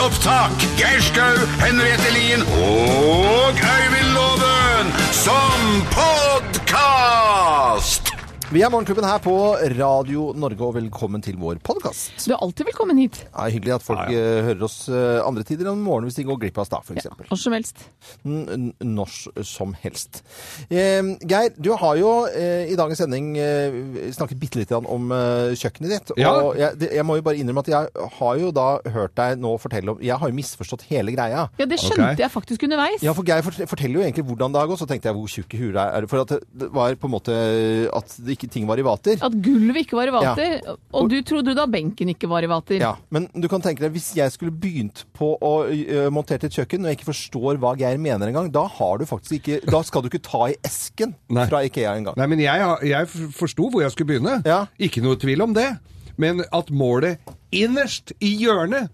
opptak. Geir Skau, Henriette Lien og Øyvind Loven som podkast! Vi er Morgenklubben her på Radio Norge, og velkommen til vår podkast. Du er alltid velkommen hit. Det er hyggelig at folk eh, hører oss eh, andre tider enn morgen hvis de går glipp av oss da, f.eks. Ja, Når som helst. N- n- Når som helst. Eh, Geir, du har jo eh, i dagens sending eh, snakket bitte litt om eh, kjøkkenet ditt. Ja. Og jeg, det- jeg må jo bare innrømme at jeg har jo da hørt deg nå fortelle om Jeg har jo misforstått hele greia. Ja, det skjønte Ok. jeg faktisk underveis. Ja, for Geir fort- forteller jo egentlig hvordan det har gått, så tenkte jeg hvor tjukk i huet det er. For at det- det var på en måte at det ikke, ting var i vater. At gulvet ikke var i vater. Og du trodde da benken ikke var i vater. Ja, men du kan tenke deg, hvis jeg skulle begynt på å ø, montere til et kjøkken, og jeg ikke forstår hva Geir mener engang, da har du faktisk ikke Da skal du ikke ta i esken Nei. fra Ikea engang. Nei, men jeg, har- jeg f- forsto hvor jeg skulle begynne. Ja. Ikke noe tvil om det. Men at målet innerst i hjørnet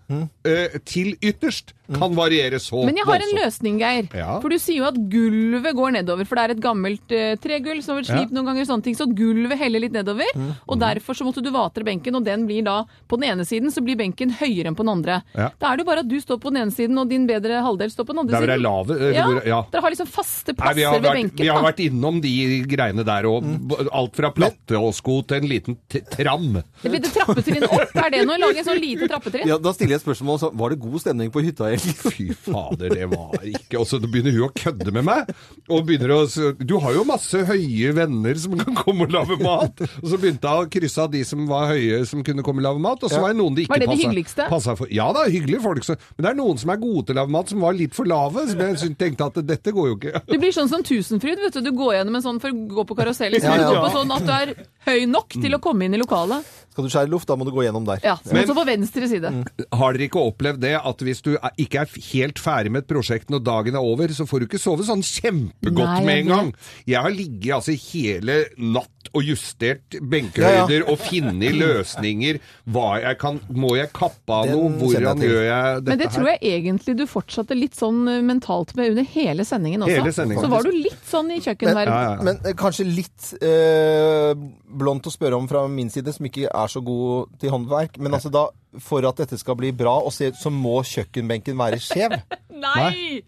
eh, til ytterst kan variere så Men jeg har en voldsomt. løsning, Geir. Ja. For du sier jo at gulvet går nedover. For det er et gammelt eh, tregulv som har vært slipt Ja. Mm. noen ganger, og sånne ting, så gulvet heller litt nedover. Og derfor så måtte du vatre benken, og den blir da På den ene siden så blir benken høyere enn på den andre. Ja. Da er det jo bare at du står på den ene siden, og din bedre halvdel står på den andre Der hvor det er siden. lave, eller ja, hvor- ja. Dere har liksom faste Nei, plasser vi har, ved vært, benken. vi har da. vært innom de greiene der, og b- alt fra platte og sko til en liten t tram. Det blir det trappetrinn opp, er det noe? Lage en sånn liten trappetrinn? Ja, da stiller jeg spørsmål så Var det god stemning på hytta i helgen? Fy fader, det var ikke Og så begynner hun å kødde med meg. Og begynner å s- Du har jo masse høye venner som kan komme og lage mat. Og så begynte jeg å krysse av de som var høye som kunne komme og lage mat, og så var det noen de Var ikke det de passa- hyggeligste? passa for. Ja da, hyggelige folk. Så. Men det er noen som er gode til å lage mat, som var litt for lave. Så jeg syn- tenkte at dette går jo ikke. Du blir sånn som Tusenfryd, vet du. Du går gjennom en sånn for å gå på karusell. Så Ja, du ja. går på sånn at du er høy nok til å komme inn i lokalet. Skal du skjære luft, da må du gå gjennom der. Ja, men, så på venstre side. Har dere ikke opplevd det at hvis du er- ikke er helt ferdig med et prosjekt når dagen er over, så får du ikke sove sånn kjempegodt Nei, med jeg en vet. gang? Jeg har ligget altså hele natt og justert benkehøyder og funnet løsninger. Hva jeg kan, må jeg kappe av Den noe? kjenner jeg Hvordan til. gjør jeg dette Men det tror jeg egentlig du fortsatte litt sånn eh, mentalt med under hele sendingen også. Hele sendingen, så var du litt sånn i Men, kjøkkenverdenen. men eh, kanskje litt eh, blondt å spørre om fra min side, som ikke er så god til håndverk. Men altså da, for at dette skal bli bra, og se, så må kjøkkenbenken være skjev. Nei!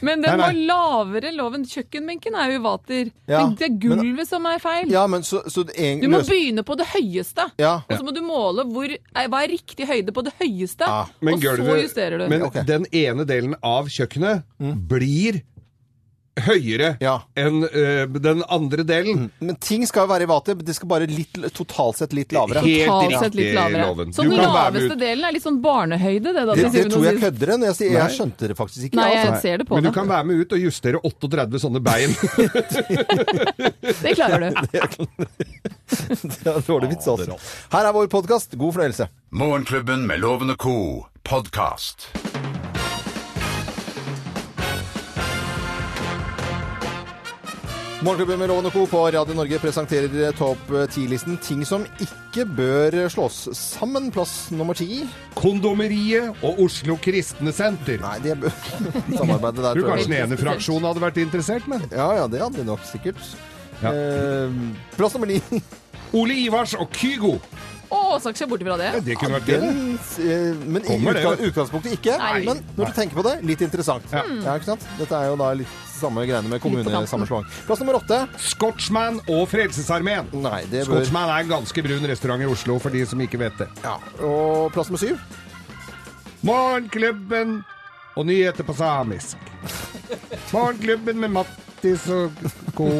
Men den Nei, nei. var lavere loven. Kjøkkenbenken er jo i vater. Ja, Det er gulvet som er feil. Ja, men så, så en, Du må løs- begynne på det høyeste, Ja. og så må du måle hvor, eh, hva er riktig høyde på det høyeste, Ja. Men og så gulvet- justerer du. Men Ok. Mm. den ene delen av kjøkkenet blir høyere Ja. enn ø, den andre delen. Men ting skal jo være i vater, men det skal bare litt, totalt sett litt lavere. Helt Totalt sett litt riktig, lavere. Loven. Så Du den kan være med laveste ut. delen er litt sånn barnehøyde, det da. til Det, det syvende og tror jeg sist. kødder når jeg sier Nei. Jeg skjønte det faktisk ikke. Nei, altså. jeg ser det på Men du deg. kan være med ut og justere 38 sånne bein. Det klarer du. Det er dårlig vits, altså. Her er vår podkast. God fornøyelse. Morgenklubben med Loven og co. podkast. Morgenklubben med Loven og Co. på Radio Norge presenterer topp 10-listen ting som ikke bør slås sammen. Plass nummer ti. Kondomeriet og Oslo Kristne Senter. Nei, det bør samarbeidet der. Tror tror kanskje jeg. den ene fraksjonen hadde vært interessert, men Ja, ja, det hadde de nok sikkert. Ja. Eh, plass nummer ni. Ole Ivars og Kygo. Å, skal ikke se bort ifra det. Ja, det kunne vært det. det. Den, eh, men i Kommer det, utga- vet du. utgangspunktet ikke. Nei. Men når du tenker på det, litt interessant. Ja. ikke sant? Dette er jo da litt samme greiene med på kanten. kommunesammenslåing. Plass nummer åtte. Scotsman og Frelsesarmeen. Nei, det bør Scotsman er en ganske brun restaurant i Oslo, for de som ikke vet det. ja. Og plass nummer syv. Morgenklubben og nyheter på samisk. Morgenklubben med Mattis og co.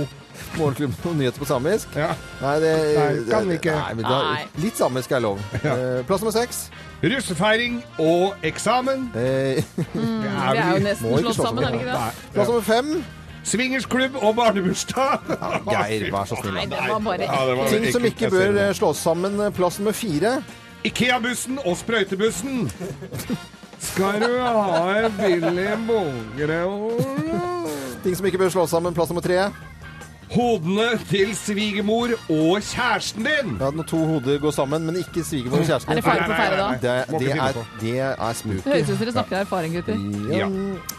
Morgenklubben og nyheter på samisk. Ja. Nei, det Nei, kan vi ikke. Nei, men da, Nei. litt samisk er lov. Eh, Plass nummer seks. Russefeiring og eksamen. Mm, Eh, Det er jo Må nesten ikke slå slått sammen, er det sammen, ikke det? Plass nummer fem. Swingersklubb og barnebursdag. Geir, vær så snill. Nei, det var bare Ja, det var Ting som ekkelt. ikke Jeg ser bør det. eh, slås sammen. Plass nummer fire. Ikea-bussen og sprøytebussen. Skal du ha en billig bongre Ting som ikke bør slås sammen. Plass nummer tre. Hodene til svigermor og kjæresten din. Ja, når to hoder går sammen, men ikke svigermor og kjæresten Er din. det feil på Nei, nei, feil da? nei, nei. Det, Må det, ikke finne er, på. det er spooky. Det høres ut som dere snakker av erfaring, gutter. Ja.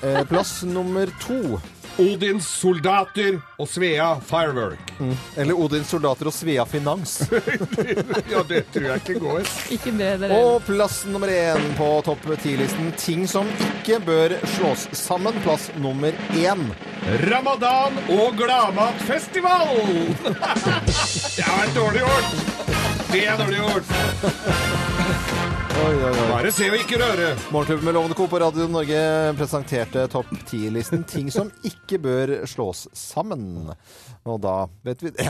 Eh, Plass nummer to. Odins soldater og Svea Firework. Eller Odins soldater og Svea Finans. Ja, det tror jeg ikke går. Ikke det dere Og plass nummer én på topp ti-listen. Ting som ikke bør slås sammen. Plass nummer én. Ramadan og gladmatfestival! det har vært dårlig gjort. Det er dårlig gjort. Oi, oi, oi. Bare se og ikke røre. Morgenklubben med Lovende Co på Radio Norge presenterte topp ti-listen ting som ikke bør slås sammen. Og da vet vi det.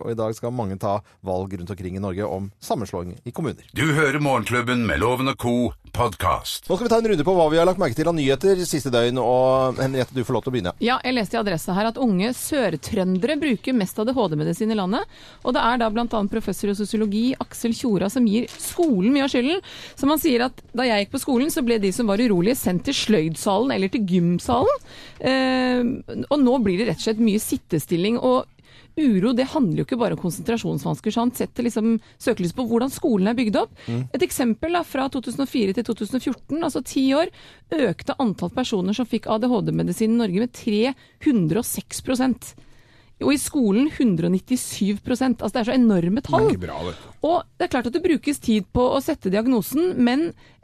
Og i dag skal mange ta valg rundt omkring i Norge om sammenslåing i kommuner. Du hører Morgenklubben med Loven og Co. podkast. Nå skal vi ta en runde på hva vi har lagt merke til av nyheter siste døgn. Og Henriette, du får lov til å begynne. Ja, jeg leste i adressa her at unge sørtrøndere bruker mest ADHD-medisin i landet. Og det er da bl.a. professor i sosiologi Aksel Tjora som gir skolen mye av skylden. Som han sier at da jeg gikk på skolen, så ble de som var urolige sendt til sløydsalen eller til gymsalen. Eh, og nå blir det rett og slett mye sittestilling. og Uro det handler jo ikke bare om konsentrasjonsvansker. sant? Setter liksom søkelys på hvordan skolen er bygd opp. Et eksempel da, fra 2004 til 2014, altså ti år, økte antall personer som fikk ADHD-medisin i Norge med 306 Og i skolen 197 Altså det er så enorme tall. Ikke bra, vet du. Og det er klart at det brukes tid på å sette diagnosen, men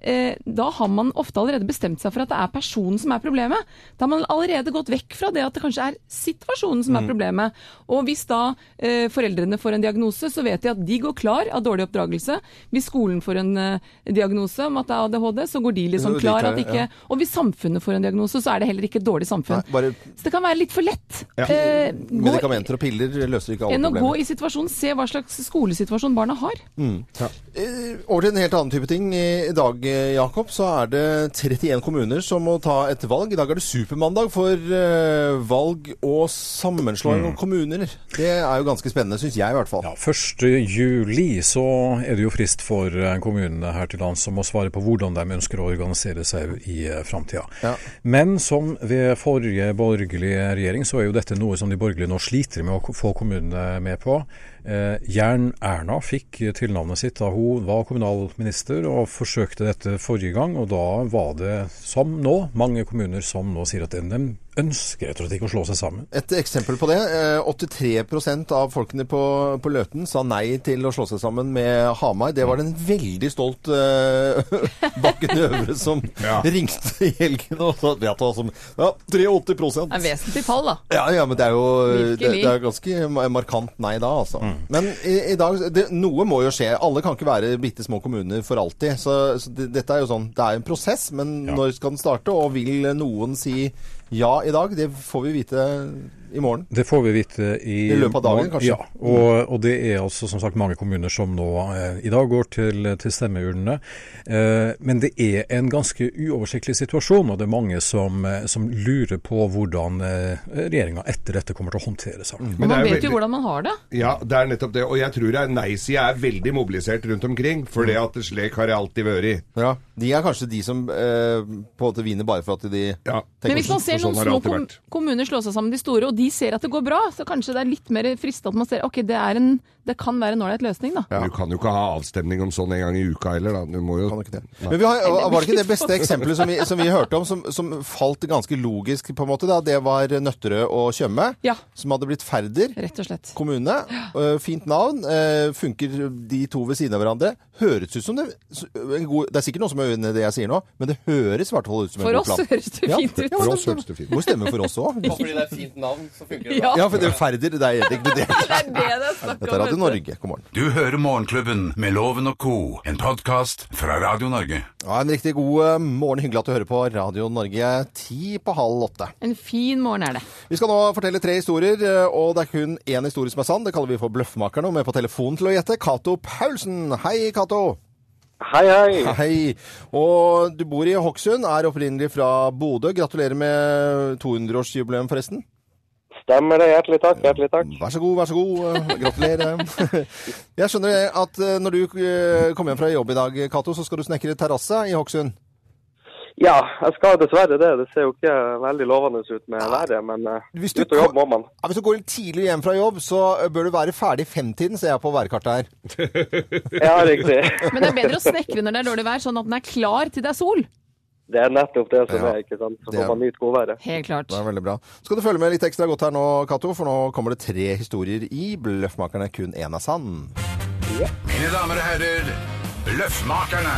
eh, da har man ofte allerede bestemt seg for at det er personen som er problemet. Da har man allerede gått vekk fra det at det kanskje er situasjonen Mm. som er problemet. Og hvis da eh, foreldrene får en diagnose, så vet de at de går klar av dårlig oppdragelse. Hvis skolen får en eh, diagnose om at det er ADHD, så går de Så liksom de klar klarer, at de ikke ja. Og hvis samfunnet får en diagnose, så er det heller ikke et dårlig samfunn. Nei, bare- Så det kan være litt for lett. Eh, gå Medikamenter og piller løser ikke alle enn å gå problemer. i situasjonen, se hva slags skolesituasjon barna har. Mm. Eh, Over til en helt annen type ting. I dag eh, Jakob, så er det 31 kommuner som må ta et valg. I dag er det supermandag for eh, valg og sammenslåing av kommuner. Det er jo ganske spennende, syns jeg i hvert fall. Ja, 1. juli så er det jo frist for eh, kommunene her til lands som må svare på hvordan de ønsker å organisere seg i framtida. Ja. Men som ved forrige borgerlige regjering, så er jo dette noe som de borgerlige nå sliter med å ko- få kommunene med på. Eh, Jern-Erna fikk tilnavnet sitt da hun var kommunalminister og forsøkte dette forrige gang, og da var det, som nå, mange kommuner som nå sier at de ønsker rett og slett ikke å slå seg sammen. Et eksempel på det. eh, 83 av folkene på, på Løten sa nei til å slå seg sammen med Hamar. Det var det en veldig stolt eh, Bakken Øvre som ringte i helgen og sa vet du hva som Ja, 83 Det er vesentlig tall, da. Ja, ja, men det er jo Virkelig. det, det er ganske ma- markant nei da, altså. Men i, i dag det, Noe må jo skje. Alle kan ikke være bitte små kommuner for alltid. Så, så det, dette er jo sånn Det er en prosess, men når skal den starte? Og vil noen si ja i dag? Det får vi vite i morgen. Det får vi vite i, I løpet av dagen, kanskje? Ja, og, og det er altså som sagt mange kommuner som nå eh, i dag går til, til stemmeurnene. Eh, men det er en ganske uoversiktlig situasjon, og det er mange som, eh, som lurer på hvordan eh, regjeringa etter dette kommer til å håndtere saken. Men det man er vet jo jo veldig- hvordan man har det. Ja, det er nettopp det. Og jeg tror det er nei-sida er veldig mobilisert rundt omkring, for Mm. det at slik har jeg alltid vært. Ja. De er kanskje de som eh, på en måte vinner bare for at de Ja. Men hvis man ser sånn noen har det små alltid kom vært. kommuner slå seg sammen de store, og de ser at det går bra, så kanskje det er litt mer fristende at man ser ok, det, er en, det kan være en ålreit løsning, da. Du kan jo ikke ha avstemning om sånn en gang i uka heller, da. Du må jo Kan nok det. Men vi har, var det ikke det beste eksempelet som vi, som vi hørte om, som, som falt ganske logisk, på en måte? da, Det var Nøtterøy og Tjøme, Ja. som hadde blitt ferder. Rett og slett. kommune. øh, Fint navn. øh, Funker de to ved siden av hverandre. Høres ut som det s- en god, Det er sikkert noen som er uenig i det jeg sier nå, men det høres i hvert fall ut som en For god oss plan. høres det fint ut. Ja, For men oss det- høres det fint ut. Må stemme for oss òg. Fordi det er et fint navn, så funker det. Ja, Ja, for det er Færder, det er helt inkludert. det er det det er snakk om. Dette er Radio vet du. Norge. God morgen. Du hører Morgenklubben med Loven og Co., en podkast fra Radio Norge. Ja, en riktig god øh, morgen. Hyggelig at du hører på Radio Norge. Ti på halv åtte. En fin morgen er det. Vi skal nå fortelle tre historier, eh, og det er kun én historie som er sann. Det kaller vi for Bløffmakerne, og med på telefonen til å gjette Cato Paulsen. Hei, Cato. Hei, hei. Hei. Og du bor i Hokksund, er opprinnelig fra Bodø. Gratulerer med 200-årsjubileum, forresten. Stemmer det. Hjertelig takk. Hjertelig takk. Vær så god, vær så god. Gratulerer. Jeg skjønner det at eh, når du eh, kommer hjem fra jobb i dag, Cato, så skal du snekre terrasse i Hokksund. Ja, jeg skal dessverre det. Det ser jo ikke veldig lovende ut med været, men eh, Hvis du ut og kan- jobb må man. Ja, hvis du går litt tidlig hjem fra jobb, så eh, bør du være ferdig i femtiden, ser jeg på værkartet her. Ja, riktig. Men det er bedre å snekre når det er dårlig vær, sånn at den er klar til det er sol. Det er nettopp det som Ja. er, ikke sant. Så Det er- får man nyte godværet. Helt klart. Det er veldig bra. Skal du følge med litt ekstra godt her nå, Cato, for nå kommer det tre historier i Bløffmakerne. Kun én er sann. Mine damer og herrer, Løffmakerne.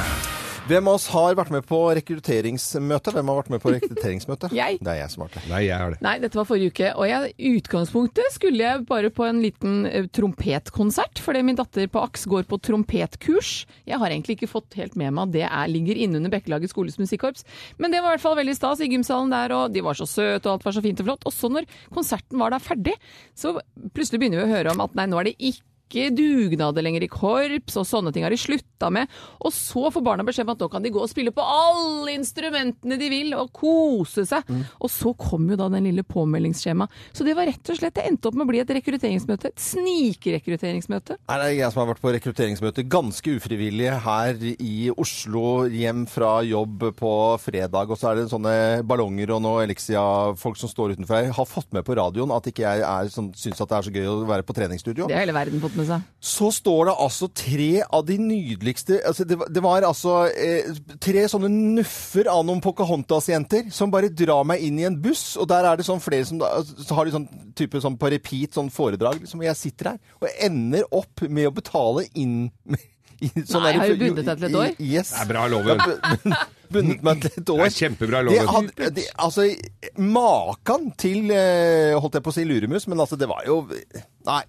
Hvem av oss har vært med på rekrutteringsmøte? Hvem har vært med på rekrutteringsmøte? Jeg. Det er jeg som har vært det. Nei, jeg er det. Nei, dette var forrige uke, og jeg, i utgangspunktet skulle jeg bare på en liten eh, trompetkonsert, fordi min datter på AKS går på trompetkurs. Jeg har egentlig ikke fått helt med meg at det er, ligger innunder Bekkelaget skoles musikkorps, men det var i hvert fall veldig stas i gymsalen der, og de var så søte, og alt var så fint og flott. Og så når konserten var da ferdig, så plutselig begynner vi å høre om at nei, nå er det ikke dugnader lenger i korps, og sånne ting har de slutta med. Og så får barna beskjed om at nå kan de gå og spille på alle instrumentene de vil, og kose seg. Og så kom jo da den lille påmeldingsskjema. Så det var rett og slett, det endte opp med å bli et rekrutteringsmøte. Et snikrekrutteringsmøte. Nei, det er jeg som har vært på rekrutteringsmøte ganske ufrivillig her i Oslo, hjem fra jobb på fredag. Og så er det sånne ballonger og noe Elixia-folk som står utenfor. Jeg har fått med på radioen at ikke jeg er sånn, syns at det er så gøy å være på treningsstudio. Det har hele verden fått med seg. Så står det altså tre av de nydeligste altså det, var- det var altså eh, tre sånne nuffer av noen Pocahontas-jenter som bare drar meg inn i en buss, og der er det sånn flere som da, så har de sånn type sånn på repeat sånn foredrag. Liksom, og jeg sitter her og ender opp med å betale inn i, sånn Nei, der- har du bundet deg til et år? i- Yes. Det er bra, Loven. Bundet meg til et år. Det er kjempebra, Loven. Det hadde, det, altså, maken til eh, Holdt jeg på å si luremus, men altså, det var jo Nei.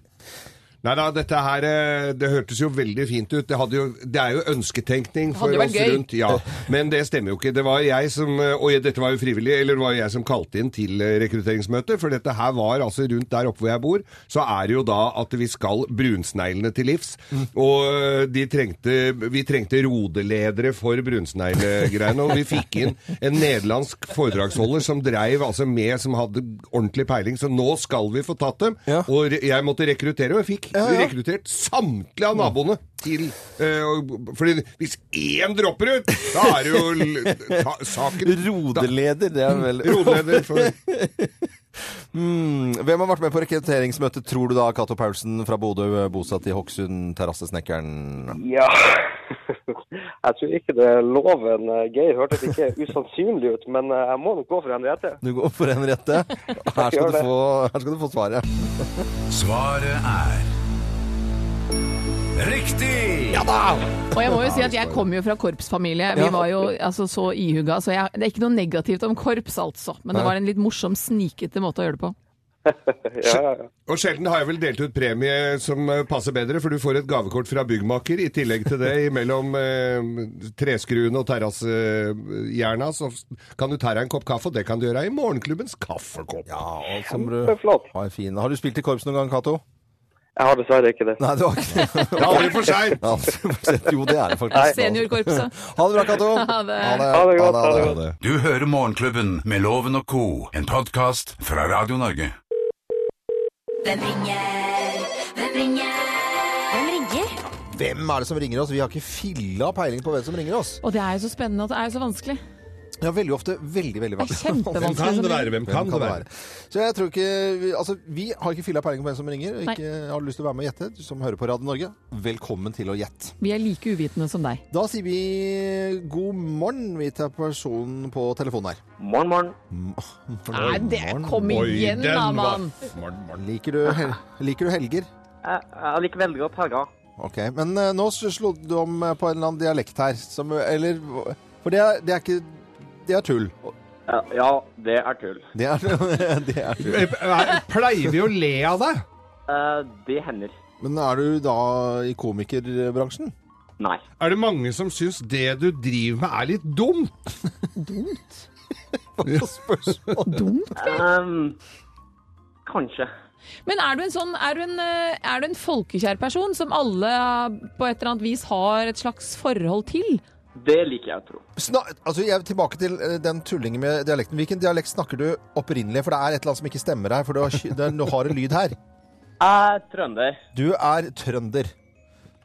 Nei da, dette her eh, Det hørtes jo veldig fint ut. Det, hadde jo, det er jo ønsketenkning for hadde jo vært oss gøy. rundt. Ja, men det stemmer jo ikke. Det var jeg som eh, Og jeg- dette var jo frivillig, eller det var jeg som kalte inn til eh, rekrutteringsmøtet. For dette her var altså rundt der oppe hvor jeg bor, så er det jo da at vi skal brunsneglene til livs. Mm. Og eh, de trengte, vi trengte rodeledere for brunsneglegreiene, og vi fikk inn en nederlandsk foredragsholder som dreiv altså med, som hadde ordentlig peiling. Så nå skal vi få tatt dem. Ja. Og og re- jeg måtte rekruttere, og jeg fikk rekruttert samtlige av naboene til eh, og- Fordi hvis én dropper ut, da er det jo l- ta, saken Rodeleder, det er vel Da- Rodeleder for Mm, Hvem har vært med på rekrutteringsmøtet, tror du da, Cato Paulsen fra Bodø, bosatt i Hokksund, terrassesnekkeren? Ja. Jeg tror ikke det er loven. eh, Geir hørtes ikke usannsynlig ut, men eh, jeg må nok gå for Henriette. Du går for en rette. Her skal Gjør du det. få, her skal du få svaret. Svaret er Riktig! Og jeg må jo si at jeg kommer jo fra korpsfamilie. Vi var jo altså, så ihuga, så jeg, det er ikke noe negativt om korps, altså. Men det var en litt morsom, snikete måte å gjøre det på. Ja, ja, ja. Og sjelden har jeg vel delt ut premie som eh, passer bedre, for du får et gavekort fra byggmaker. I tillegg til det, mellom eh, treskruene og terrassejerna, så kan du ta deg en kopp kaffe, og det kan du gjøre i morgenklubbens kaffekopp. Ja, og som du Kjempeflott. har, fin. har du spilt i korps noen gang, Cato? Jeg har dessverre ikke det. Nei, det var ikke det. Det er aldri for seint! Ja, jo, det er det faktisk. Seniorkorpset. Ha det bra, Cato. Ha det. Ha det godt, ha det godt. Du hører Morgenklubben med Loven og co., en podkast fra Radio Norge. Hvem ringer? Hvem ringer? Hvem ringer? Hvem er det som ringer oss? Vi har ikke filla peiling på hvem som ringer oss. Og det er jo så spennende at det er jo så vanskelig. Ja, veldig ofte. Veldig, veldig Det er kjempevanskelig. Hvem kan det være? Hvem kan det være? Så jeg tror ikke vi- Altså, vi har ikke filla peiling på hvem som ringer. og Ikke har du lyst til å være med og gjette, du som hører på Radio Norge. Velkommen til å gjette. Vi er like uvitende som deg. Da sier vi god morgen vi til personen på telefonen her. Morgen, morgen. Mm, Nei, det kom Oi, igjen den da, var- mann! Liker du, hel liker du helger? Jeg, jeg liker veldig godt helga. Ok, men eh, nå s- slo du om eh, på en eller annen dialekt her, som, eller For det er, det er ikke Det er tull. Ja, det er tull. Det er, det er tull. Eh, Pleier vi å le av deg? Eh, det hender. Men er du da i komikerbransjen? Nei. Er det mange som syns det du driver med er litt dumt? Ehm, kanskje. Men er du en sånn er du en, eh, er du en folkekjær person som alle eh, på et eller annet vis har et slags forhold til? Det liker jeg å tro. Sna altså, jeg er Tilbake til eh, den tullingen med dialekten. Hvilken dialekt snakker du opprinnelig? For det er et eller annet som ikke stemmer her. For du har, ky- det er, du har en lyd her. Jeg er trønder. Du er trønder.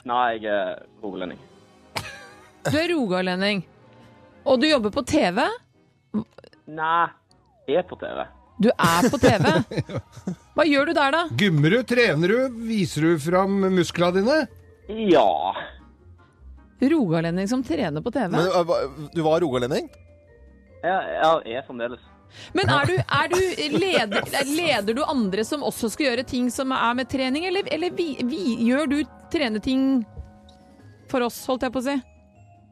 Nei, jeg er rogalending. Du er rogalending, og du jobber på TV. Nei, jeg er på TV. Du er på TV. Hva gjør du der, da? Gymmer du, trener du, viser du fram musklene dine? Ja. Rogalending som trener på TV. Men eh, hva- du var rogalending? Ja, ja, jeg er fremdeles. Men er du, er du leder, leder du andre som også skal gjøre ting som er med trening, eller, eller vi, vi, gjør du treneting for oss, holdt jeg på å si?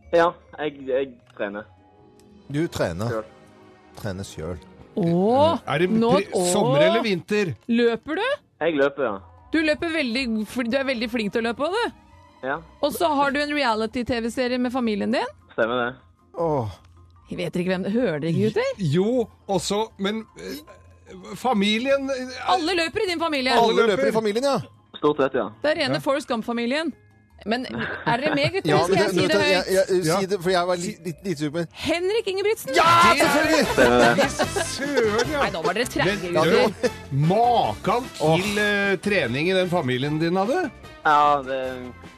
Ja, jeg, jeg trener. Du trener. Selv. Trener sjøl. Å, Er det nå- pri- sommer å, eller vinter? Løper du? Jeg løper, ja. Du løper veldig, fl- du er veldig flink til å løpe, du. Ja, Og så har du en reality-TV-serie med familien din. stemmer det. Jeg vet ikke hvem det Hører dere ikke, gutter? Jo, også, men eh, familien eh, Alle løper i din familie. Alle løper i familien, ja. Stort sett, ja. Det er rene Forrest Gump-familien. Men er dere med, gutter? ja Skal jeg men si det- det jeg, høyt? jeg, jeg, Ja. si det, for jeg var litt, litt, litt super. Henrik Ingebrigtsen! Søren, ja. Nei, nå var dere Men treige, du, gutter. makan til eh, trening i den familien din hadde. Ja, det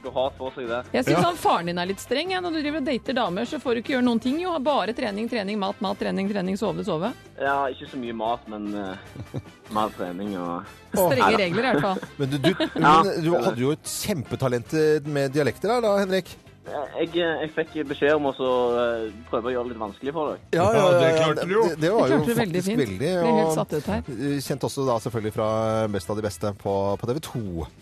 går hardt for seg der. Jeg syns han faren din er litt streng. Ja. Når du driver og dater damer, så får du ikke gjøre noen ting. Jo, bare trening, trening, mat, mat, trening, trening, sove, sove. Ja, ikke så mye mat, men eh, mer trening og Strenge regler, i hvert fall. Men du, du, Ja. men du hadde jo et kjempetalent eh, med dialekter her da, Henrik. jeg, jeg fikk beskjed om å så, eh, prøve å gjøre det litt vanskelig for deg. Ja, ja, ja, ja. Det, det, det var Det jo klarte du faktisk veldig fint. veldig. eh, Ble helt satt ut her. Kjent også da selvfølgelig fra Best av de beste på, på TV 2.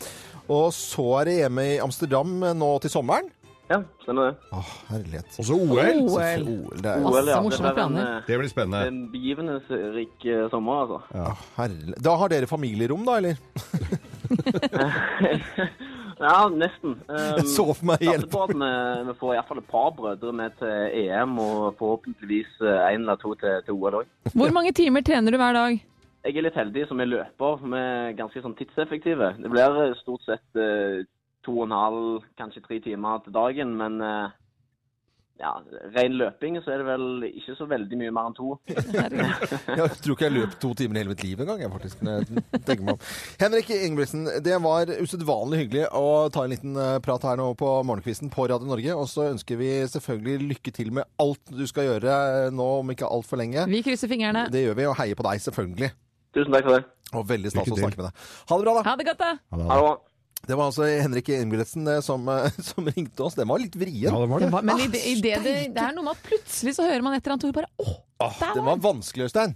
Og så er det hjemme i Amsterdam nå til sommeren. Ja, stemmer det. Åh, herlighet. Også OL. OL. OL, det er, Masse ja. morsomme Det blir en, planer. eh, Det blir spennende. en begivenhetsrik eh, sommer, altså. Åh, herlig- Da har dere familierom da, eller? Ja, nesten. Um, Så for meg hjelp. på at vi, vi får iallfall et par brødre med til EM, og forhåpentligvis én eller to til, til OL òg. Hvor mange timer trener du hver dag? Jeg er litt heldig som er løper, vi er ganske sånn tidseffektive. Det blir eh, stort sett eh, to og en halv, kanskje tre timer til dagen, men eh, ja, ren løping så er det vel ikke så veldig mye mer enn to. Jeg tror ikke jeg løp to timer i hele mitt liv engang. jeg faktisk, når jeg tenker meg om. Henrik Ingebrigtsen, det var usedvanlig hyggelig å ta en liten eh, prat her nå på Morgenkvisten på Radio Norge. Og så ønsker vi selvfølgelig lykke til med alt du skal gjøre eh, nå om ikke altfor lenge. Vi krysser fingrene. Det gjør vi, og heier på deg selvfølgelig. Tusen takk for det. Og veldig stas Lykke å til. snakke med deg. Ha det bra, da. Ha det godt, da. Ha det bra. Det var altså Henrik Ingebrigtsen eh, som, eh, som ringte oss. Den var litt vrien. Ja, det var Det det. var, Ah, men i det, i det, det, det er noe med at plutselig så hører man et eller annet ord bare åh, der Den var var vanskelig, Øystein.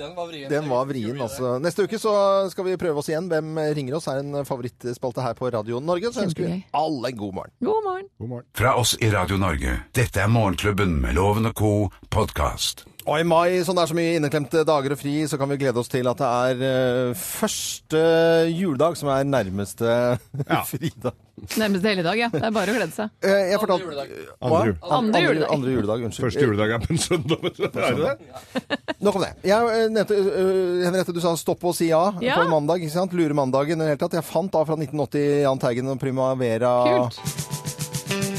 Den var vrien. Den var vrien, altså. Neste uke så skal vi prøve oss igjen. Hvem ringer oss? er en favorittspalte her på Radio Norge. Så ønsker vi Kjempegøy. alle en god morgen. God morgen. God morgen. Fra oss i Radio Norge. Dette er Morgenklubben med Loven og co. podkast. Og i mai, sånn det er så mye inneklemte dager og fri, så kan vi glede oss til at det er eh, første juledag som er nærmeste fridag. Nærmeste helligdag, ja. Det er bare å glede seg. Eh, jeg fortalte- juledag. Hva? Andre. An- Andre juledag. Andre juledag, unnskyld. Første juledag er på en søndag. vet du. Er det det? Nok om det. Jeg eh, nevnte, eh, Henriette, du sa stopp og si ja, Ja. på en mandag. ikke sant? Lure mandagen i det hele tatt. Jeg fant da fra 1980 Jahn Teigen og Primavera. Kult.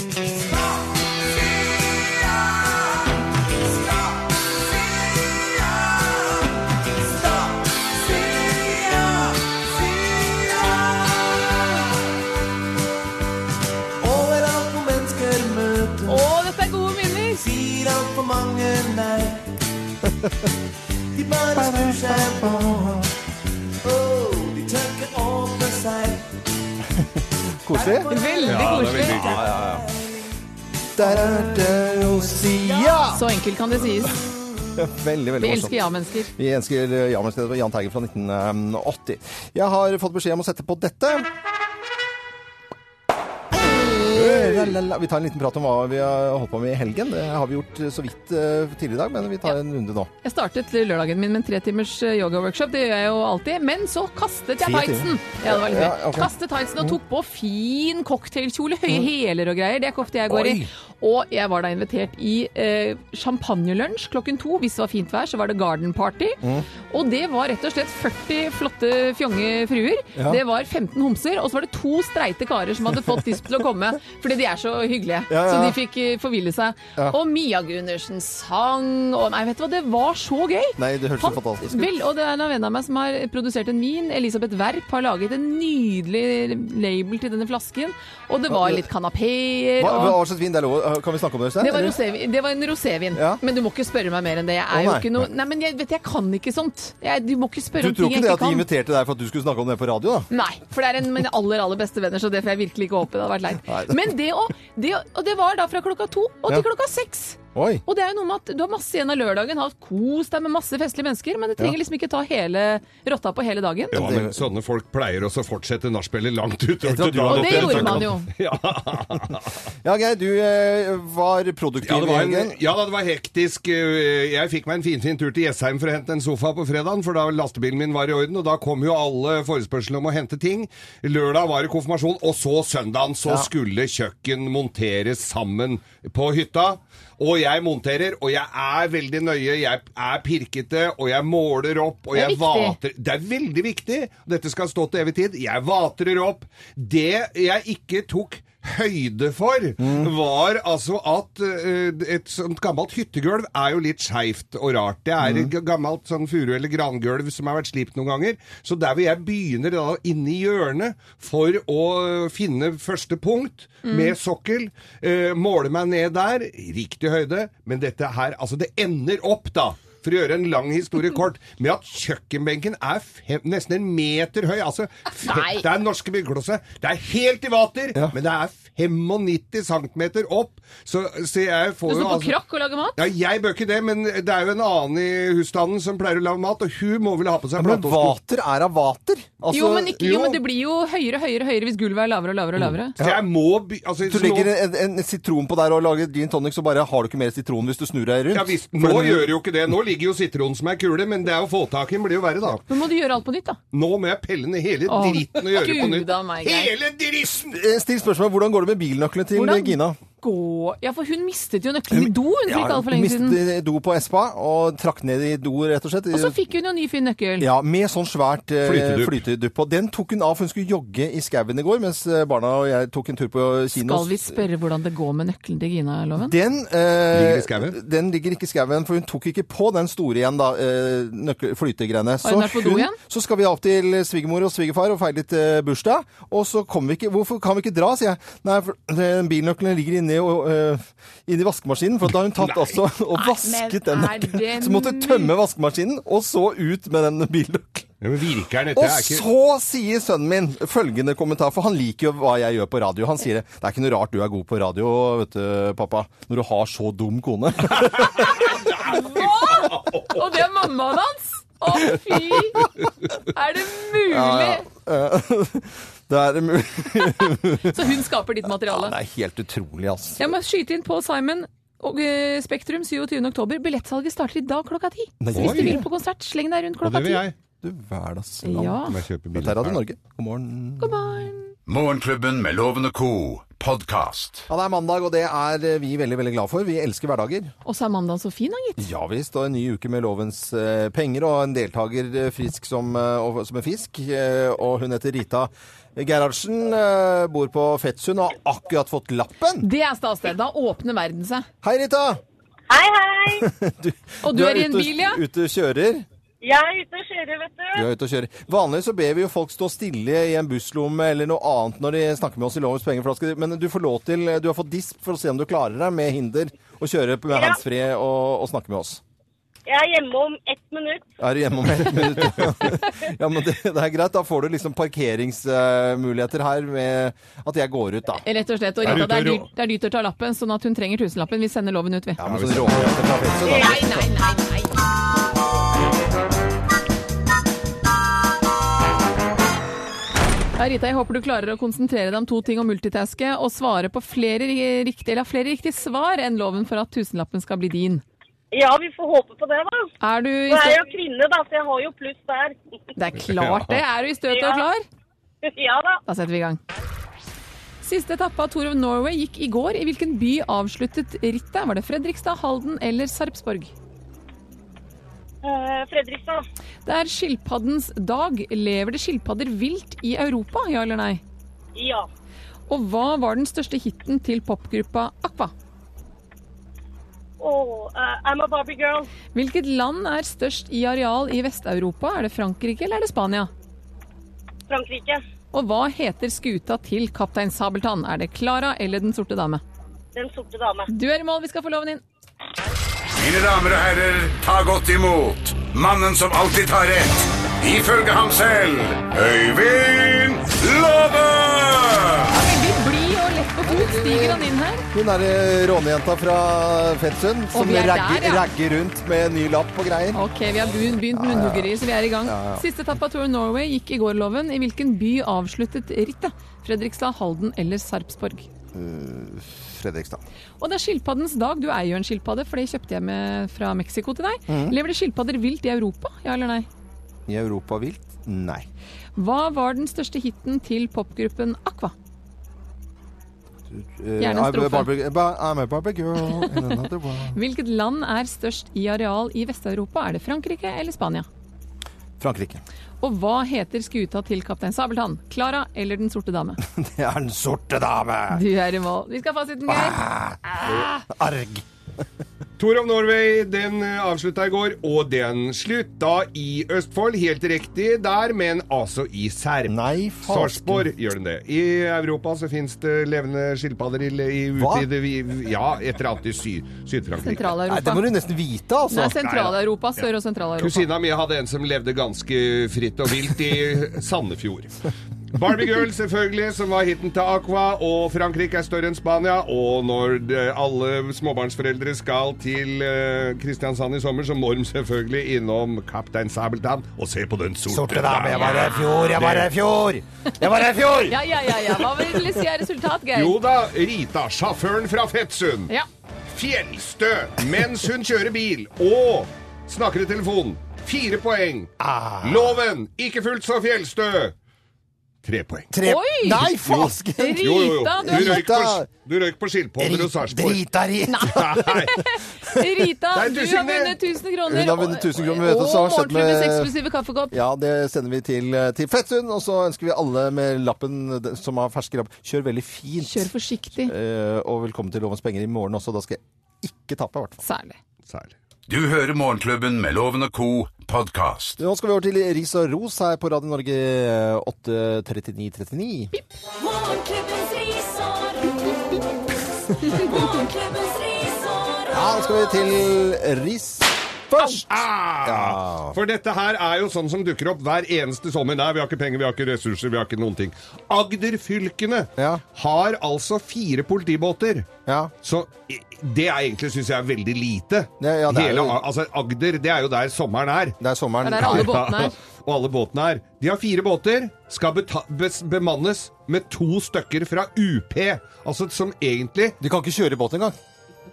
Overalt hvor mennesker møter Å, dette er gode minner! sier altfor mange nei. De bare snur seg på. Oh, de tør ikke åpne seg. Koselig. Veldig Ja, det er veldig koselig. hyggelig. Der er det å si ja! sånn. Så enkelt kan det sies. Veldig, veldig Vi morsomt. elsker ja-mennesker. Vi elsker eh, Jan Mercedes og Jahn Teigen fra 1980. Jeg har fått beskjed om å sette på dette. Eh, La, la, la. Vi tar en liten prat om hva vi har holdt på med i helgen. Det har vi gjort eh, så vidt eh, tidligere i dag, men vi tar en runde nå. Jeg startet lørdagen min med en tretimers eh, yogaworkshop, det gjør jeg jo alltid. Men så kastet jeg Tre tightsen! Ja, det var litt Ja, gøy. ok. Mm. Kastet tightsen og tok på fin cocktailkjole, høye hæler og greier. Det er ikke ofte jeg går i. Oi. Og jeg var da invitert i eh, champagnelunsj klokken to. Hvis det var fint vær, så var det garden party. Mm. Og det var rett og slett 40 flotte, fjonge fruer. Det var 15 homser, og så var det to streite karer som hadde fått disse til å komme. Fordi de er så hyggelige. Ja, ja. Så de fikk eh, forville seg. Og Mia Gundersen sang, og nei, vet du hva, det var så gøy! Nei, det hørtes så fantastisk ut. Vel, og det er en venn av meg som har produsert en vin. Elisabeth Werp har laget en nydelig label til denne flasken. Og det var litt kanapeer. Hva, hva og- slags vin det er lov? eh, Kan vi snakke om det? Øystein, Det var, eller? rosévin, det var en rosévin, Ja. men du må ikke spørre meg mer enn det. Jeg Å, er jo nei. ikke noe Nei, men jeg, vet, jeg kan ikke sånt. Jeg, du må ikke Du spørre om tror ting ikke det jeg ikke at de kan. inviterte deg for at du skulle snakke om det på radio, da? Nei, for det er en av mine aller aller beste venner, så det får jeg virkelig ikke håpe. Det hadde vært leit. Nei. Men det å, det, å- og det var da fra klokka to og til klokka seks. Oi. Og det er jo noe med at du har masse igjen av lørdagen, har kos deg med masse festlige mennesker, men det trenger liksom ikke ta hele rotta på hele dagen. Ja, men sånne folk pleier også å fortsette nachspielet langt utover tror til du du har Og har det gått gjorde hjem. man jo. Ja, Geir, du eh, var produktiv Ja, det i var, en, helgen. ja da, det var hektisk. Eh, Jeg fikk meg en finfin tur til Jessheim for å hente en sofa på fredagen, for da lastebilen min var i orden, og da kom jo alle forespørslene om å hente ting. Lørdag var det konfirmasjon, og så søndagen så skulle kjøkken monteres sammen på hytta. Og jeg monterer, og jeg er veldig nøye, jeg er pirkete, og jeg måler opp, og Det er jeg viktig. vater vater- Det er veldig viktig. Dette skal stå til evig tid. Jeg vatrer opp. Det jeg ikke tok høyde for, var altså at eh, et sånt gammelt hyttegulv er jo litt skeivt og rart. Det er et g- gammelt sånn furu- eller grangulv som har vært slipt noen ganger. Så der hvor jeg begynner da inne i hjørnet for å finne første punkt med sokkel, eh, måle meg ned der, riktig høyde, men dette her, altså det ender opp da for å gjøre en lang historie kort, med at kjøkkenbenken er fem, nesten en meter høy. Altså, f- Nei. det er norske byggeklosser. Det er helt i vater, men det er 95 cm opp. Så, så jeg Du får står jo på krakk og lager mat. altså- ja, jeg bør ikke det, men det er jo en annen i husstanden som pleier å lage mat, og hun må vel ha på seg Men platåsko. vater er av vater. Altså, Jo, men, ikke, jo, jo. men det blir jo høyere og høyere, og høyere hvis gulvet er lavere og lavere og lavere. Så jeg må by... Altså, Du så nå- legger en, en sitron på der og lager gin tonic, så bare har du ikke mer sitron hvis du snur deg rundt. ja, visst, For nå den- gjør jo ikke det. Nå ligger jo sitronen som er kule, men det er å få tak i den blir jo verre, da. Men må du gjøre alt på nytt, da? Nå må jeg pelle ned hele Åh, dritten og gjøre på Gud nytt. a meg, Geir. Hele dritten! Eh, Still spørsmål, hvordan går det med bilnøklene til Hvordan? Gina? Gå Ja, for hun mistet jo nøkkelen i do hun for ikke altfor lenge siden. mistet do på Espa og trakk ned i do, rett og slett. Og så fikk hun jo ny fin nøkkel. Ja, med sånn svært eh, Flytedupp. flytedupp. Og den tok hun av, for hun skulle jogge i skauen i går, mens eh, barna og jeg tok en tur på kino. Skal vi spørre hvordan det går med nøkkelen til Gina-loven? Den, eh, Ligger i skauen? den ligger ikke i skauen, for hun tok ikke på den store igjen, da, eh, nøkkel- flytegreiene. Så, hun vært på do igjen? så skal vi opp til svigermor og svigerfar og feire litt eh, bursdag, og så kommer vi ikke Hvorfor kan vi ikke dra, sier jeg. Nei, for den bilnøkkelen ligger inni, og, eh, inni vaskemaskinen, for da har hun tatt altså og vasket men den er det nøkkelen. Så måtte hun tømme vaskemaskinen, og så ut med den bilnøkkelen. Ja, men virker den Og dette? er ikke... så sier sønnen min følgende kommentar, for han liker jo hva jeg gjør på radio. Han sier det. Det er ikke noe rart du er god på radio, vet du, pappa, når du har så dum kone. Hva?! Og det er mammaen hans! Å, fy! Er det mulig? Det er, det Så hun skaper ditt materiale. er helt utrolig, altså. Jeg må skyte inn på Simon og eh, Spektrum 27. oktober. Billettsalget starter i dag klokka ti. Så hvis du Oi. vil på konsert, sleng deg rundt Og klokka det vil ti. jeg. Du hverdags. Ja. Må jeg Dette kjøpe er billett Radio her. Norge. God morgen. God morgen. Morgenklubben med Loven og Co. Podcast. Ja, det er mandag, og det er eh, vi veldig, veldig glad for. Vi elsker hverdager. Og så er mandagen så fin, han gitt. Ja visst, og en ny uke med lovens eh, penger og en deltaker eh, frisk som, eh, og, som en fisk. Eh, og hun heter Rita Gerhardsen, eh, bor på Fettsund og har akkurat fått lappen. Det er stas, det. Da åpner verden seg. Hei, Rita! Hei, hei! Og du, er i en ute, bil, ja? Ute og kjører. Jeg er ute og kjører, vet du. Du er ute og kjører. Vanligvis så ber vi jo folk stå stille i en busslomme eller noe annet når de snakker med oss i lovens penger, for da skal de- men du får lov til Du har fått disp for å se om du klarer deg med hinder og kjøre med handsfree og, og snakke med oss. Jeg er hjemme om ett minutt. Er du hjemme om ett minutt? ja, men det, det er greit. Da får du liksom parkeringsmuligheter her med at jeg går ut, da. Rett og slett. Og Er du Rita, det ute er og rå- dyrt, det er dyrt å ta lappen, sånn at hun trenger tusenlappen. Vi sender loven ut, vi. Ja, men sånn råkjøtt fra Fetsund, da. Nei, nei, nei, nei. Ja, Rita, jeg håper du klarer å konsentrere deg om to ting og multitaske, og svare på flere ri- riktige, eller ha flere riktige svar enn loven for at tusenlappen skal bli din. Ja, vi får håpe på det, da. Er du i Nå er jeg stø- jo kvinne, da, så jeg har jo pluss der. Det er klart det! Er du i støtet og Ja. klar? ja da. Da setter vi i gang. Siste etappe av Tour of Norway gikk i går. I hvilken by avsluttet rittet? Var det Fredrikstad, Halden eller Sarpsborg? Eh, Fredrikstad. Det er skilpaddens dag. Lever det skilpadder vilt i Europa, ja eller nei? Ja. Og hva var den største hiten til popgruppa Aqua? Oh, I'm a Barbie girl. Hvilket land er størst i areal i Vest-Europa? Er det Frankrike eller er det Spania? Frankrike. Og hva heter skuta til kaptein Sabeltann? Er det Klara eller Den sorte dame? Den sorte dame. Du er i mål, vi skal få loven inn. Mine damer og herrer, ta godt imot mannen som alltid tar rett. Ifølge ham selv Øyvind Låve! Veldig blid og lett på fot stiger han inn her. Hun er eh, rånejenta fra Fettsund som vi er der, ragger, ja. ragger rundt med en ny lapp og greier. Ok, vi har bu- begynt med munnhuggeri, så vi er i gang. Ja, ja. Siste etappe av Tour of Norway gikk i går, Loven. I hvilken by avsluttet rittet? Fredrikstad, Halden eller Sarpsborg? Eh, Fredrikstad. Og det er skilpaddens dag. Du eier jo en skilpadde, for det kjøpte jeg med fra Mexico til deg. Mhm. Lever det skilpadder vilt i Europa, ja eller nei? I Europa vilt? Nei. Hva var den største hiten til popgruppen Aqua? Eh, Gjerne en I'm a strofe. Barbie- ba- I'm a Barbie girl in another world. Hvilket land er størst i areal i Vest-Europa? Er det Frankrike eller Spania? Frankrike. Og hva heter skuta til kaptein Sabeltann? Klara eller Den sorte dame? Det er den sorte dame! Du er i mål. Vi skal ha fasiten, Ah. Geir. Arg. Tour of Norway den eh, avslutta i går, og den slutta i Østfold. Helt riktig der, men altså i Serb. Nei, fasken. Sarpsborg gjør den det. I Europa så fins det levende skilpadder i, i Hva? utvidede vi- Ja, et eller annet i Syd- Syd-Frankrike. Nei, det Sentral-Europa. må du nesten vite, altså. Nei, Sentral-Europa. Sør- og Sentral-Europa. Kusina mi hadde en som levde ganske fritt og vilt i Sandefjord. Barbie Girl, selvfølgelig, som var hiten til Aqua, og Frankrike er større enn Spania. Og når det- alle småbarnsforeldre skal til eh, Kristiansand i sommer, så må de selvfølgelig innom Kaptein Sabeltann og se på den sorte, Sorte dame, jeg var her i fjor, jeg var her i fjor! Jeg var her i fjor! Ja, ja, ja. ja. Hva vil si er resultat, Geir? Jo da, Rita, sjåføren fra Fettsund. Ja. Fjellstø mens hun kjører bil og snakker i telefonen. Fire poeng. Loven ikke fullt så fjellstø. Tre poeng. Tre... Oi! Nei, fasken! Jo, jo, jo. Rita, du Du er røyk på, Rita. du røyk på skilpadder og Sarpsborg. Drita ri! Nei. Rita, Nei, du du, har Signe. vunnet 1000 kroner. Hun har vunnet 1000 kroner, vet du, Og så har hun sett med- morgenklubbens eksklusive kaffekopp. Ja, det sender vi til, til Fettsund, og så ønsker vi alle med lappen eh, som har fersk lapp, kjør veldig fint. Kjør forsiktig. Eh, og velkommen til Lovens penger i morgen også, da skal jeg ikke tape, i hvert fall. Særlig. Særlig. Du hører Morgenklubben med Loven og Co. podkast. Nå skal vi over til Ris og ros her på Radio Norge eh, 83939. Morgenklubbens risår. Morgenklubbens risår. Ja, nå skal vi til ris først. Ah, for dette her er jo sånn som dukker opp hver eneste sommer. Nei, vi har ikke penger, vi har ikke ressurser, vi har ikke noen ting. Agderfylkene Ja. har altså fire politibåter. Ja. Så i- det er egentlig, syns jeg, er veldig lite. Ja, ja, det er Hele, jo- A- altså, Agder, det er jo der sommeren er. Det er sommeren. Det er alle båtene er. Og alle båtene er. De har fire båter, skal beta bes bemannes med to stykker fra UP. Altså som egentlig Du kan ikke kjøre i båt engang.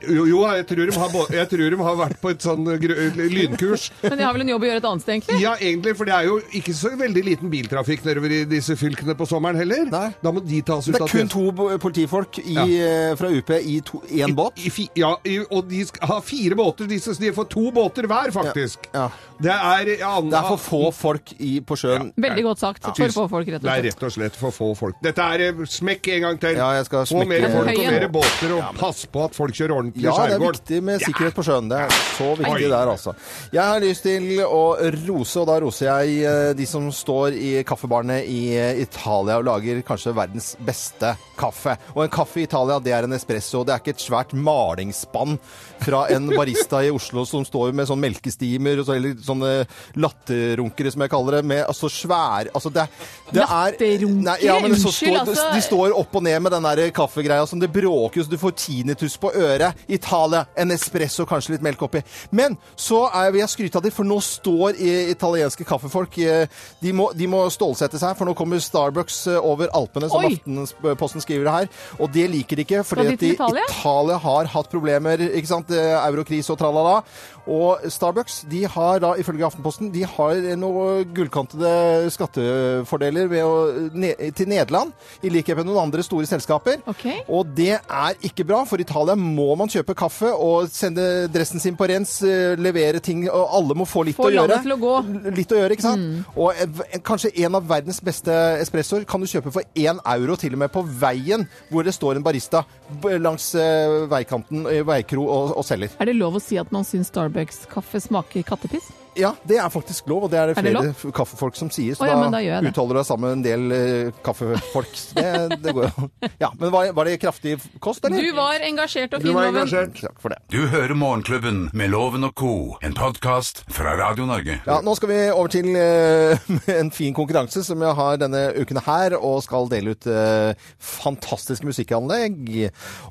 Jo, jo jeg, tror de har, bå- jeg tror de har vært på et sånn grø- lynkurs. Men de har vel en jobb å gjøre et annet sted, egentlig? Ja, egentlig, for det er jo ikke så veldig liten biltrafikk nedover i disse fylkene på sommeren heller. Nei. Da må de tas ut Det av er kun tjeneste. to bo- politifolk i, eh, fra UP i to- én båt. I, i, fi- ja, i, og de sk- har fire båter, disse, så de får to båter hver, faktisk. Ja, ja. Det er ja, Det er for få folk i, på sjøen. Veldig godt sagt. For få folk, rett og Det er slett. rett og slett for få folk. Dette er eh, smekk en gang til. Ja, jeg skal få smekke- mer folk og Høyen. mer båter, og pass på at folk kjører ordentlig i Ja, det er skjærgården. viktig med sikkerhet på sjøen. Det er så viktig Oi. der, altså. Jeg har lyst til å rose, og da roser jeg eh, de som står i kaffebarene i eh, Italia og lager kanskje verdens beste kaffe. Og en kaffe i Italia, det er en espresso. Det er ikke et svært malingsspann fra en barista i Oslo som står med sånn melkestimer og så, eller sånne latterrunkere, som jeg kaller det, med altså svære Altså, det, er- det er Latterrunkere? Nei, ja, men så Unnskyld, står- altså. De står opp og ned med den der kaffegreia som det bråker, så du får tinnitus på øret. Italia, en espresso, kanskje litt melk oppi. Men så er, vil jeg skryte av dem, for nå står i- italienske kaffefolk eh, De må, de må stålsette seg, for nå kommer Starbucks eh, over Alpene, som Oi! Aftenposten skriver det her. Og det liker de ikke, fordi de at til de, Italia? Italia har hatt problemer, ikke sant? Eh, Eurokris og tralala. Og Starbucks, de har da, ifølge Aftenposten, de har noen gullkantede skattefordeler ved å, ne, til Nederland, i likhet med noen andre store selskaper. Ok. Og det er ikke bra, for i Italia må man kjøpe kaffe og sende dressen sin på rens, eh, levere ting, og alle må få litt Få å gjøre. landet til å gå. Mm. L- Litt å gjøre, ikke sant? Og en- kanskje en av verdens beste espressoer kan du kjøpe for én euro, til og med på veien hvor det står en barista b- langs eh, veikanten, eh, veikro og, og selger. Er det lov å si at man syns Starbucks-kaffe smaker kattepiss? Ja, det er faktisk lov, og det er det Er det flere lov? f- kaffefolk som sier. Så Å ja, men da da, gjør jeg det. uttaler du deg sammen med en del eh, kaffefolk. Det, det går jo. Ja, men var, var det kraftig kost, eller? Du var engasjert og Du fin, var Loven. engasjert. Takk for det. Du hører Morgenklubben med Loven og co., en podkast fra Radio Norge. Ja, nå skal vi over til eh, en fin konkurranse som jeg har denne uken her, og skal dele ut eh, fantastiske musikkanlegg.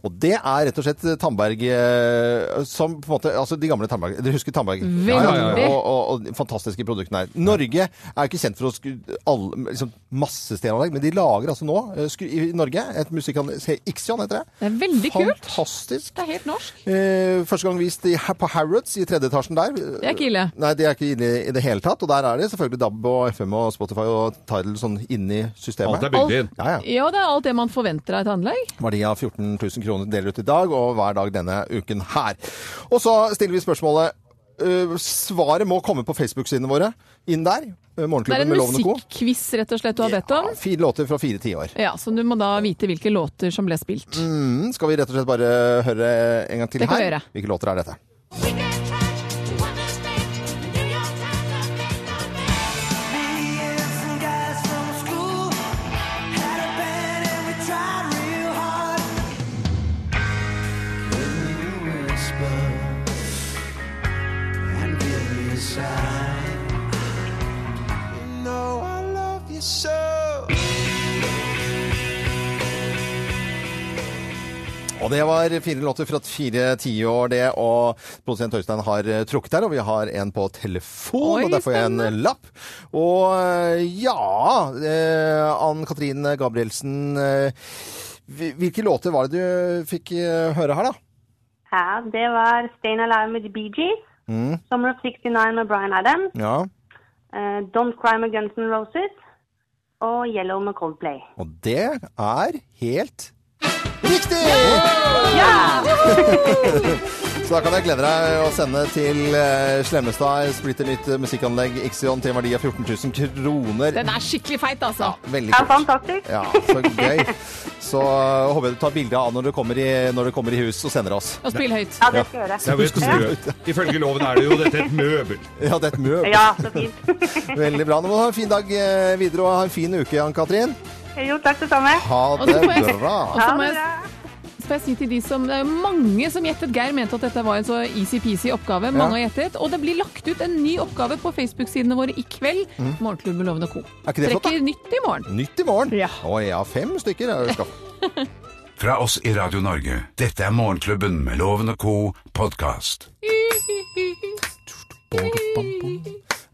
Og det er rett og slett Tandberg eh, som på en måte Altså de gamle Tandberg. Dere husker Tandberg? Veldig. Og, og, og de fantastiske produktene her. Norge er ikke kjent for å skru alle, liksom, masse stereoanlegg, men de lager altså nå eh, skru, i Norge et musikkanlegg Se, Ixion heter det. Det er veldig kult. Fantastisk. Det er helt norsk. Eh, første gang vist i, på Harrods i tredje etasjen der. Det er ikke ille. Nei, det er ikke ille i det hele tatt. Og der er det selvfølgelig DAB og FM og Spotify og Tidal sånn inni systemet. Alt er bygd inn. Ja, ja. Ja, det er alt det man forventer av et anlegg. Verdi av 14 000 kroner deler ut i dag, og hver dag denne uken her. Og så stiller vi spørsmålet. eh, svaret må komme på Facebook-sidene våre. Inn der. eh, Det er Morgenklubben en med Loven og Co. musikkquiz rett og slett du har bedt om. Ja, fire låter fra fire tiår. Ja, Så du må da vite hvilke låter som ble spilt. Mm, skal vi rett og slett bare høre en gang til Det kan vi her? gjøre. Hvilke låter er dette? Og det var fire låter fra fire tiår, det. Og produsent Øystein har eh, trukket her, og vi har en på telefon. Oi, og der får jeg en eh, lapp. Og eh, ja eh, Ann-Katrin Gabrielsen. eh, hvil- Hvilke låter var det du fikk eh, høre her, da? Ja, det var Stayin' Alive med The Bee Gees. Summer of 69 med Bryan Adams. Mm. Ja. eh, Don't Cry med Guns N' Roses. Og Yellow med Coldplay. Og det er helt riktig! Så da kan jeg glede deg å sende til eh, Slemmestad splitter nytt eh, musikkanlegg Ixion til en verdi av 14 000 kroner. Den er skikkelig feit, altså. Veldig Ja, kult. fantastisk. Ja, så gøy. Så øh, håper jeg du tar bilde av når du kommer i, når du kommer i hus og sender oss. Og spill høyt. Ja, det skal jeg gjøre. Jeg vet, ikke. Ifølge loven er det jo dette et møbel. Ja, det er et møb. Ja, så fint. Veldig bra. Nå må du ha en fin dag eh, videre og ha en fin uke, Ann-Katrin. Jo, takk det samme. Ha Og det så får jeg- bra. Og så Ha må det jeg, bra. skal jeg si til de som Det er jo mange som gjettet. Geir mente at dette var en så easy-peasy oppgave. Mange har gjettet. Og det blir lagt ut en ny oppgave på Facebook-sidene våre i kveld. Morgenklubben Loven og Co. Mm. Er ikke det flott, da? Trekker nytt i morgen. Nytt i morgen. Ja. Å ja, fem stykker er det skaffet. Fra oss i Radio Norge, dette er Morgenklubben med Loven og co. podkast.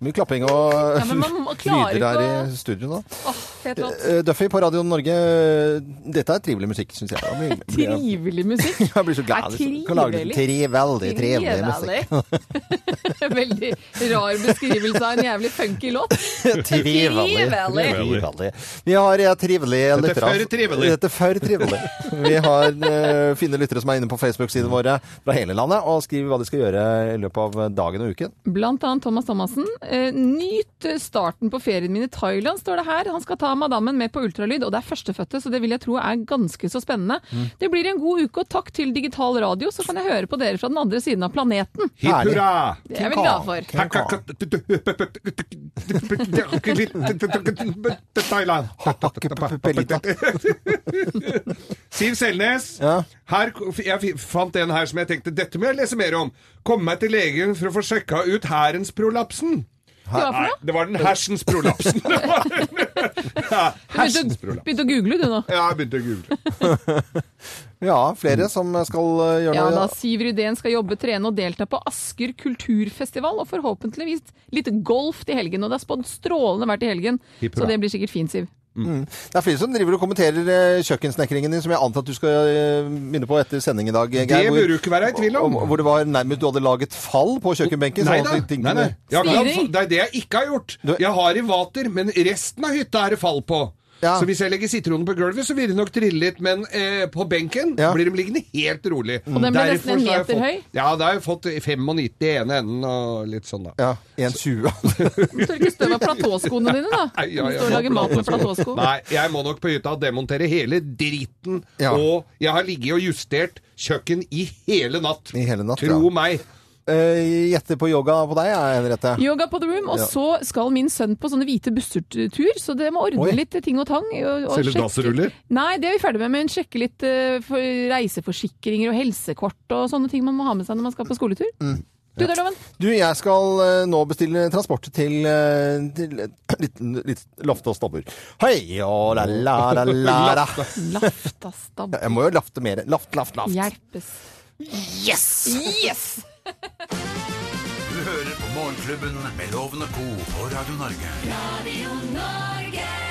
Mye klapping og Ja, men man må- klarer lyder her ikke å- i studio nå. Åh, fet låt. Eh, Duffy på Radio Norge. eh, Dette er trivelig musikk, syns jeg. Da blir- blir jeg- Trivelig musikk. Jeg blir så glad. Er liksom. Kan lage trivelig. litt Trivelig, trivelig musikk. Trivelig. Veldig rar beskrivelse av en jævlig funky låt. Trivelig. Trivelig. Trivelig. Vi har eh, trivelige Dette er lyttere. altså. for trivelig. Dette er for trivelig. Vi har eh, fine lyttere som er inne på Facebook-sidene våre fra hele landet og skriver hva de skal gjøre i løpet av dagen og uken. Blant annet Thomas Thomassen. Eh, Nyt starten på ferien min i Thailand, står det her. Han skal ta madammen med på ultralyd, og det er førstefødte, så det vil jeg tro er ganske så spennende. Det blir en god uke, og takk til digital radio, så kan jeg høre på dere fra den andre siden av planeten. Hipp Herlig. hurra! Det er jeg veldig glad for. Siv Selnes, Ja. her, jeg fi- fant en her som jeg tenkte dette må jeg lese mer om. Komme meg til legen for å få sjekka ut hærens prolapsen. Hva for Nei, noe? det var den hersens prolapsen. Det var den. Ja, Du begynte, Hersens prolapsen. begynte å google du nå. Ja, jeg begynte å google. Ja, flere som skal eh, gjøre Ja da, noe. Siv Rydén skal jobbe, trene og delta på Asker kulturfestival, og forhåpentligvis litt golf til helgen. Og det er spådd strålende vær til helgen, Hipp så hurra. det blir sikkert fint, Siv. Det er flere som driver og kommenterer eh, kjøkkensnekringen din, som jeg antar at du skal eh, begynne på etter sending i dag. eh, Geir, Det hvor- burde du ikke være i tvil om. hvor- Hvor det var nærmest du hadde laget fall på kjøkkenbenken. Nei sånn da. at de Nei, nei. tingene- Jeg har Styring. ikke- det er det jeg ikke har gjort. Du- Jeg har i vater, men resten av hytta er det fall på. Ja. Så hvis jeg legger sitronen på gulvet, så vil de nok trille litt, men eh, på benken Ja. blir de liggende helt rolig. Og den ble nesten en meter høy. Ja, da har jeg fått 95 i ene enden og litt sånn, da. Ja, 1,20. Tørke støv av platåskoene dine, da. Nei, ja, Du ja, står og lager mat med platåsko. Nei, jeg må nok på hytta demontere hele driten, Ja. og jeg har ligget og justert kjøkken i hele natt. I hele natt, Tro ja. meg. Eh, Gjette på yoga på deg, jeg, Henriette. Yoga på the room, og Ja. så skal min sønn på sånne hvite bussetur, så det må ordne Oi. litt ting og tang. Og, og Selge sjekke- dasseruller? Nei, det er vi ferdig med, men sjekke litt eh, for reiseforsikringer og helsekort og sånne ting man må ha med seg når man skal på skoletur. Mm. Du, Garloven. Du, jeg skal eh, nå bestille transport til, eh, til et liten litt lafte og stabbur. Hei, og la la la la la. Lafta stabb. Jeg må jo lafte mer. Laft, laft, laft. Hjelpes. Yes! Yes! Du hører på Morgenklubben med Loven og Co. på Radio Norge. Radio Norge.